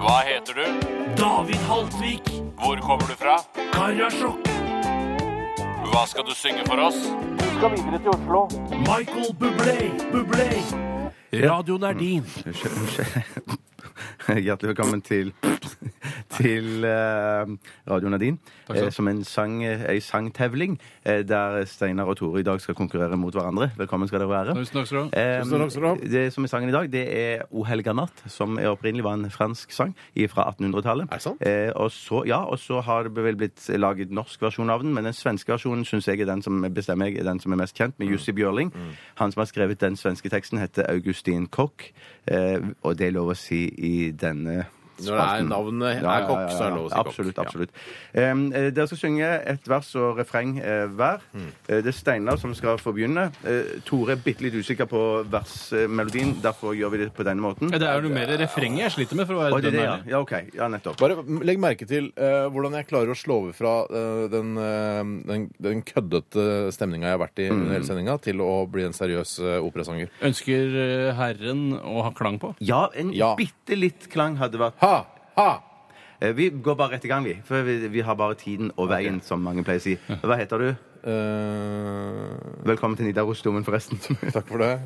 Hva heter du? David Haltvik, Hvor kommer du fra? Karasjok, Hva skal du synge for oss? Michael Bublé, Bublé. Radioen er din. Hjertelig velkommen til, til eh, Radio Nadine, eh, som en, sang, eh, en sangtevling eh, der Steinar og Tore i dag skal konkurrere mot hverandre. Velkommen skal dere være. Tusen takk skal du ha. Eh, Tusen takk skal du ha. det som er sangen i dag, det er O helga natt, som er opprinnelig var en fransk sang fra 1800-tallet. Er det sant? Eh, og så, ja, og så har det vel blitt laget norsk versjon av den, men den svenske versjonen syns jeg er den som bestemmer jeg er den som er mest kjent, Mm. med Jussi Bjørling. Han som har skrevet den svenske teksten, heter Augustin Kokk, eh, og det er lov å si i denne Når det er spalten. navnet er kokk, så er det lov å si kokk. Absolutt. Ja. absolutt. Em, eh, dere skal synge et vers og refreng eh, hver. Mm. Eh, det er Steinar som skal få begynne. Eh, Tore er bitte litt usikker på versmelodien, derfor gjør vi det på denne måten. Ja, Det er jo noe mer refrenget jeg sliter med. for å Å, være det er det, ja. dønn ærlig. ja, OK. Ja, nettopp. Bare m- legg merke til eh, hvordan jeg klarer å slå over fra eh, den, eh, den, den køddete stemninga jeg har vært i under hele sendinga, til å bli en seriøs eh, operasanger. Ønsker eh, Herren å ha klang på? Ja, en Ja. bitte litt klang hadde vært Ha! Ha! eh, Vi går bare rett i gang, vi. For vi, vi har bare tiden og veien, som mange pleier å si. Hva heter du? Eh, Velkommen til Nidarosdomen, forresten. takk for det.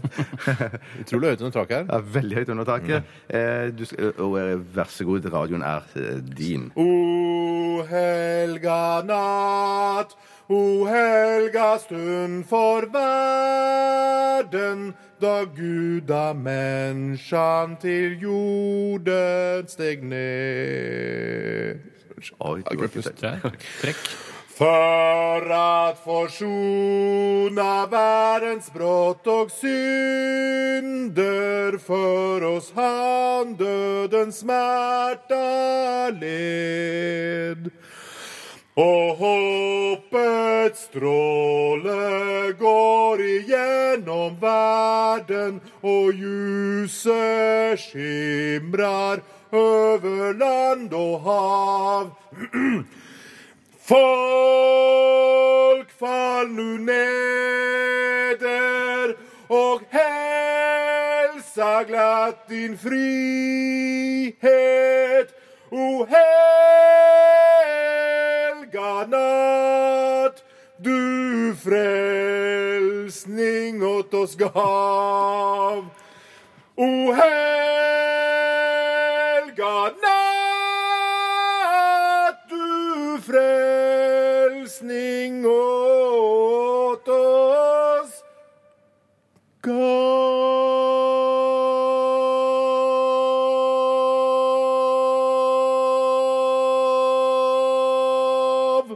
Utrolig høyt under taket her. Ja, veldig høyt under taket. Mm. Eh, du, skal- og eh, vær så god, radioen er eh, din. O helga natt, o helga stund for verden, da Gud av menneskene til jorden steg ned. Oi, du var ikke Det er Frekk. For at forsona verdens brått og synder, for oss han dødens smerta led. Og håpets stråle går igjennom verden, og ljuset skimrar over land og hav. Folk fall nu neder og helsa glatt din frihet. O helga natt, du frelsning åt oss gav. O helga natt, du frelsning åt oss gav.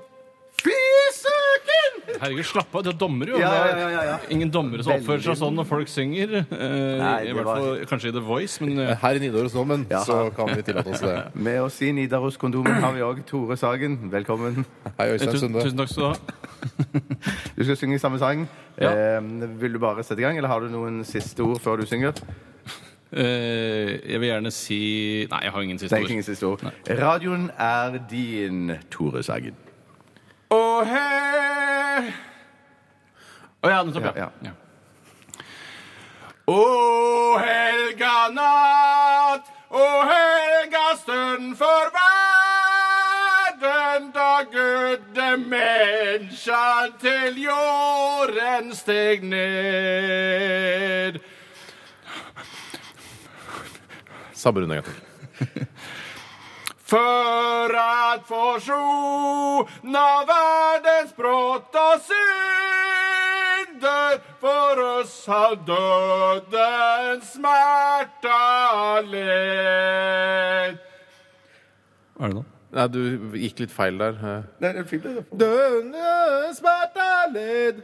Fisøken! Herregud, slapp av. Du er dommer, jo. Ja, Det ja, er ja, ja, ja. Ingen dommere som oppfører seg sånn når folk synger. eh, Nei, I det hvert var- fall kanskje i The Voice, men eh, Her i Nidaros nå, men Ja. så kan vi tillate oss det. Med oss i Nidaros-kondomen har vi òg Tore Sagen. Velkommen. Hei, sånn Øystein tusen, Sunde. tusen takk skal du ha. Du skal synge samme sang. Ja. Eh, vil du bare sette i gang, eller har du noen siste ord før du synger? Det Eh, jeg vil gjerne si Nei, jeg har ingen siste er ikke ord. ingen siste ord. Radioen er din, Tore Sagen. Å hei Å ja, nettopp, ja. Ja, ja. Å helga natt, å helga stund for verden, da gudde menneskene til jorden steg ned. Sabber unna, gutter. For at forsona verdens brått og synder, for oss har dødens smerta ledd. Hva er det nå? Nei, du gikk litt feil der. Nei, det er fint, det. Døende smerta led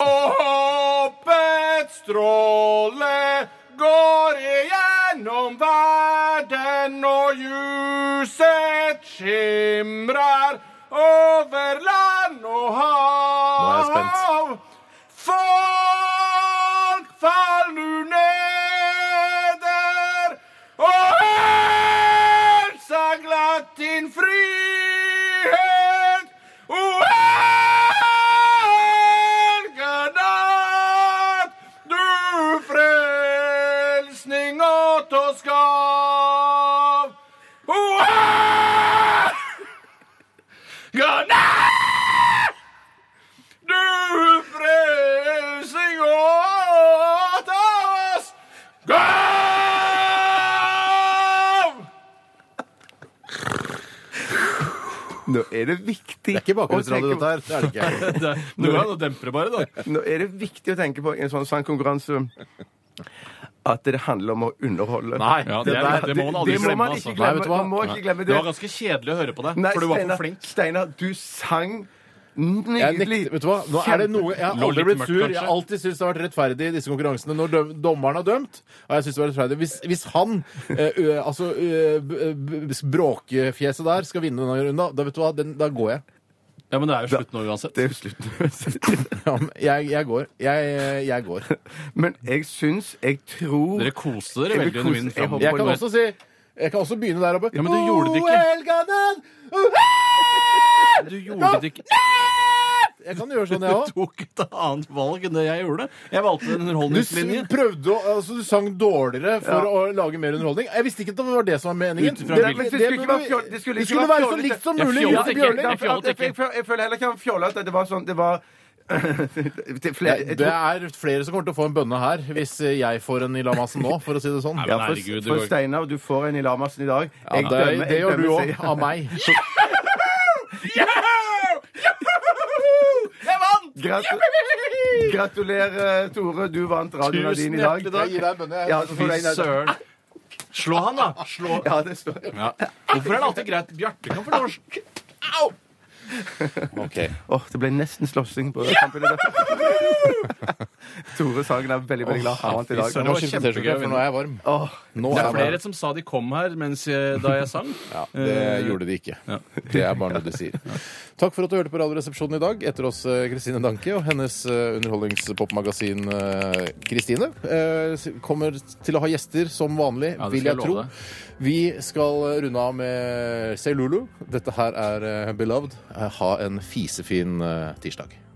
Og håpets stråle går igjennom verden, og ljuset skimrer over land og Nå er jeg hav. spent. Folk fall nu neder, og helsa glatt din frihet. O helga natt, du frelsning åt oss gav. Nå er det viktig Det er ikke bakgrunnsradio, å tenke på- dette her. Det er det ikke. Det er- Nå er det å dempe det bare, da. Nå er det viktig å tenke på i en sånn sangkonkurranse at det handler om å underholde. Nei, ja, det, er, det må man aldri det må glemme. man ikke altså. glemme. Nei, vet du hva? man må ikke glemme Det det. var ganske kjedelig å høre på deg, Nei, for du var Steinar- for flink. Steinar, du sang nydelig. Jeg nekter, vet du hva? Nå er det noe, jeg har Lå aldri litt blitt mørkt, sur. Jeg har kanskje? alltid syntes det har vært rettferdig i disse konkurransene når døm, dommeren har dømt. Og jeg synes det var rettferdig. Hvis, hvis han, eh, ø, altså ø, b- b- bråkefjeset der, skal vinne denne runden, da vet du hva, den, da går jeg. Ja, Men det er jo slutt nå uansett. Det er jo slutt. Ja, men jeg, jeg går. Jeg, jeg går. Men jeg syns, jeg tror Dere koste dere Jeg veldig vil under kose- min jeg håper- Jeg kan framover. også si jeg kan også begynne der oppe. Ja, men du gjorde det ikke. Oh, Elganen! Oh, Du gjorde det ikke Jeg kan gjøre sånn, jeg Du òg. tok et annet valg enn det jeg gjorde. Jeg valgte en Du s- underholdningslinje. prøvde å, altså du sang dårligere for Ja. å lage mer underholdning. Jeg visste ikke at det var det som var meningen. Ut ifra Det, hvilken- men det Det skulle ikke være fjoll- det skulle det ikke skulle være være så fjollete. likt som Jeg mulig. fjollet Josef ikke. Bjørling. Jeg fjollet Jeg, jeg, jeg føler heller ikke han fjollet at det var sånn Det var det, flere, Det jeg det tror- er flere som kommer til å få en bønne her, hvis eh, jeg får en i lamassen nå, for å si det sånn. men ja, herregud, for, det for går- Steinar, du får en i Lamassen i dag. Ja, Jeg det, dømmer- det jeg gjør du dømmer òg, seg- av meg. Gratu- Gratulerer, Tore. Du vant radioen din i dag. hjertelig takk. gir deg en bønne. Ja, så får du en- Fy søren. Slå han, da. Slå. Ja, det står Ja. Hvorfor er det alltid greit? Bjarte kan få lov. Åh, Det ble nesten slåssing på kampen i dag. Tore Sagen er veldig veldig glad han vant i Jeg dag. må skifte T-skjorte, for nå er jeg varm. Åh, Nå Det er er jeg flere varm. som sa de kom her mens jeg, da jeg sang. Ja, det Eh, gjorde de ikke. Det er bare noe de sier. Takk for at du hørte på Radioresepsjonen i dag. Etter oss eh, Kristine Danke og hennes eh, underholdningspopmagasin eh, Kristine. eh, s- Kommer til å ha gjester som vanlig, Ja, det vil skal jeg jeg tro. love deg. Vi skal eh, runde av med Selulu. Dette her er eh, Beloved. Eh, Ha en fisefin eh, tirsdag.